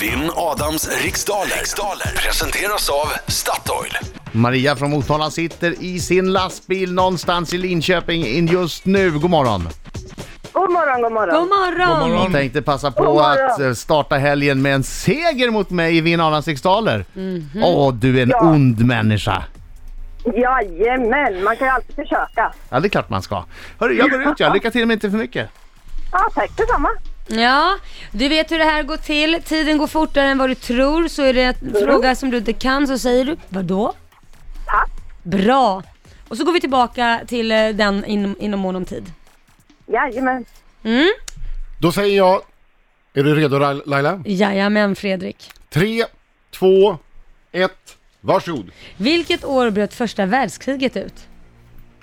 Vinn Adams riksdaler. riksdaler presenteras av Statoil. Maria från Motala sitter i sin lastbil någonstans i Linköping in just nu. God morgon! God morgon, god morgon. God morgon! God Jag morgon. tänkte passa på God morgon. att eh, starta helgen med en seger mot mig i Vinn Adams riksdaler. Åh, du är en Mhm. Ja. ond människa! Jajamän, man kan ju alltid försöka. Ja, det är klart man ska. Hörru, jag går ut jag. Lycka till men inte för mycket. Ja, tack detsamma. Ja, du vet hur det här går till. Tiden går fortare än vad du tror. Så är det en Mm. fråga som du inte kan så säger du vadå? Pass. Bra! Och så går vi tillbaka till eh, den inom, inom mån om tid. Jajamän. Då säger jag... Är du redo Lai- Laila? Jajamän Fredrik. Tre, två, ett. Varsågod. Vilket år bröt första världskriget ut?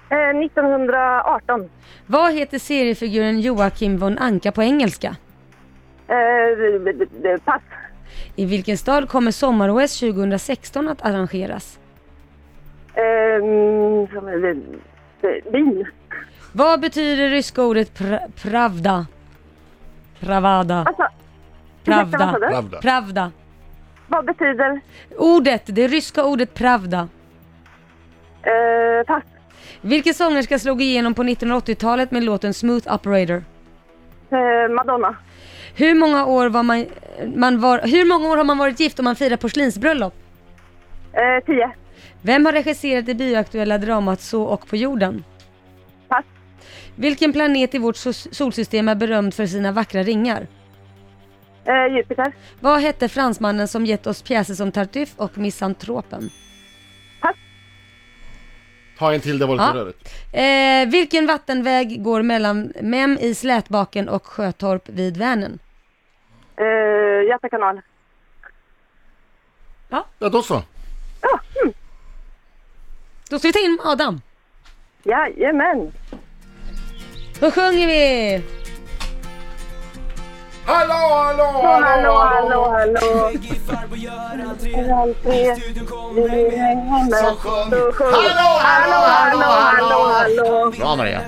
Eh, 1918. Vad heter seriefiguren Joakim von Anka på engelska? Eh, b- b- b- pass. I vilken stad kommer sommar-OS 2016 att arrangeras? Eh, mm, som- eh, eh, Bin. Vad betyder det ryska ordet pra- pravda? Pravada. Alltså, ursäkta, vad sa Pravda. du? Pravda. Pravda. Vad betyder Ordet, det ryska ordet pravda. eh, pass? Vilken sångerska slog igenom på 1980-talet med låten Smooth Operator? Eh, Madonna. Hur många år, var man, man var, hur många år har man varit gift om man firar porslinsbröllop? Eh, 10. Vem har regisserat det bioaktuella dramat Så och på jorden? Pass. Vilken planet i vårt so- solsystem är berömd för sina vackra ringar? Eh, Jupiter. Vad hette fransmannen som gett oss pjäser som Tartuffe och Misantropen? Ta en till, det var lite Ja. rörigt. Eh, vilken vattenväg går mellan Mem i Slätbaken och Sjötorp vid Vänern? Eh, Göta kanal. Ja, då så. Då ska vi ta in Adam. Jajamän. Då sjunger vi! Hallå, hallå, Hallå, hallå, hallå. Tre, Så hallå, sjung. hallå, hallå, hallå, hallå. Bra Maria!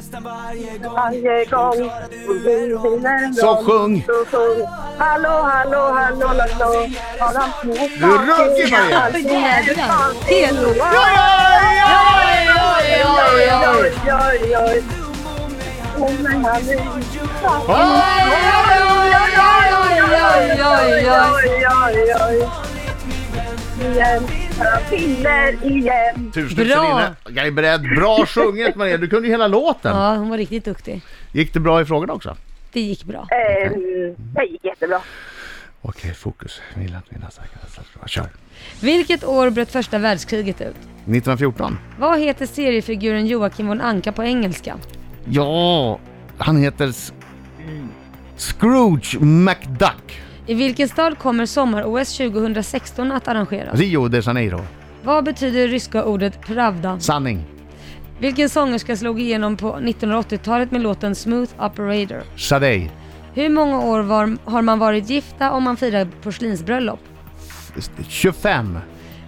Varje gång vi vinner Så sjung! så sjung Hallå, hallå, hallå, hallå Adam Du är ruggig Maria! Finner igen. Tusen tusen Bra. inne. Jag är beredd. Bra sjunget Maria, du kunde ju hela låten. Ja, hon var riktigt duktig. Gick det bra i frågorna också? Det gick bra. Eh, Det gick jättebra. Okej, fokus. Vill att vinna säkert. Kör. Vilket år bröt första världskriget ut? 1914. Vad heter seriefiguren Joakim von Anka på engelska? Ja, han heter S- Scrooge McDuck. I vilken stad kommer sommar-OS 2016 att arrangeras? Rio de Janeiro. Vad betyder det ryska ordet pravda? Sanning. Vilken sångerska slog igenom på 1980-talet med låten Smooth Operator? Sade. Hur många år var, har man varit gifta om man firar porslinsbröllop? 25.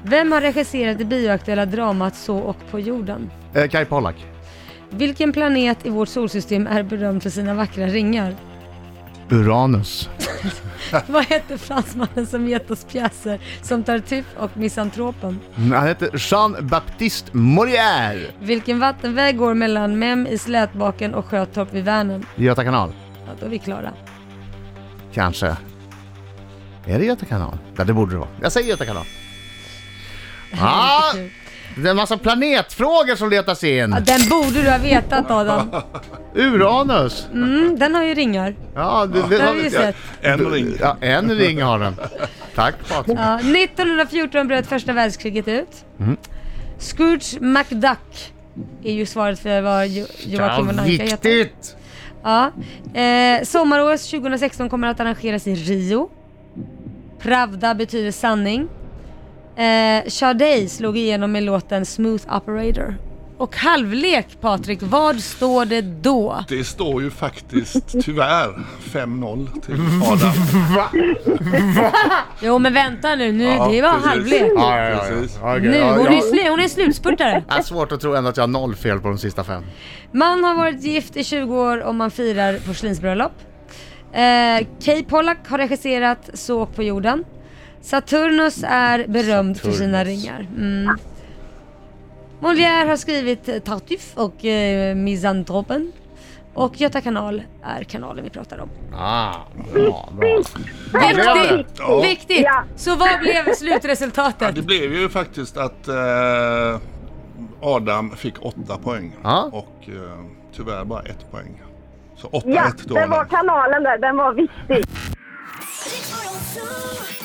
Vem har regisserat det bioaktuella dramat Så och på jorden? Eh, Kai Pollak. Vilken planet i vårt solsystem är berömd för sina vackra ringar? Uranus. Vad hette fransmannen som gett oss pjäser som Tartuffe och Misantropen? Han heter Jean-Baptiste Molière. Vilken vattenväg går mellan Mem i Slätbaken och Sjötorp vid Vänern? Göta kanal. Ja, då är vi klara. Kanske. Är det Göta kanal? Ja, det borde det vara. Jag säger Göta kanal. Ah, det är en massa planetfrågor som letas Ja, in. den borde du ha vetat Adam. Uranus. Mm, den har ju ringar. Ja, det, det, Det har vi ju sett. En ring. Ja, en ring har den. Tack Patrik. Ja, 1914 bröt första världskriget ut. Scrooge McDuck är ju svaret för vad jo- Joakim von Ja, Anka heter. viktigt! Ja. Eh, Sommar-OS 2016 kommer att arrangeras i Rio. Pravda betyder sanning. Eh, Sade slog igenom med låten Smooth Operator. Och halvlek Patrik, vad står det då? Det står ju faktiskt tyvärr 5-0 till Adam. Jo men vänta nu, nu Ja, det var precis. halvlek. Ja, ja, ja, Precis. ja. Okej, Nu, ja, hon, ja. är slu- hon är slutspurtare. Jag har Äh, svårt att tro ändå att jag har noll fel på de sista fem. Man har varit gift i 20 år om man firar porslinsbröllop. Eh, Kay Pollack har regisserat Så åk på jorden. Saturnus är berömd för sina Saturnus. ringar. Mm. Molière har skrivit eh, Tartuffe och eh, Misantropen. Och Göta kanal är kanalen vi pratar om. Ah, bra, bra. Viktigt! Ja. Viktigt! Ja. Så vad blev Ja, slutresultatet? det blev ju faktiskt att eh, Adam fick åtta poäng Ja. och eh, tyvärr bara ett poäng. Så 8-1 Ja, då. den var Adam. kanalen där. Den var viktig. Riks Morgonzoo.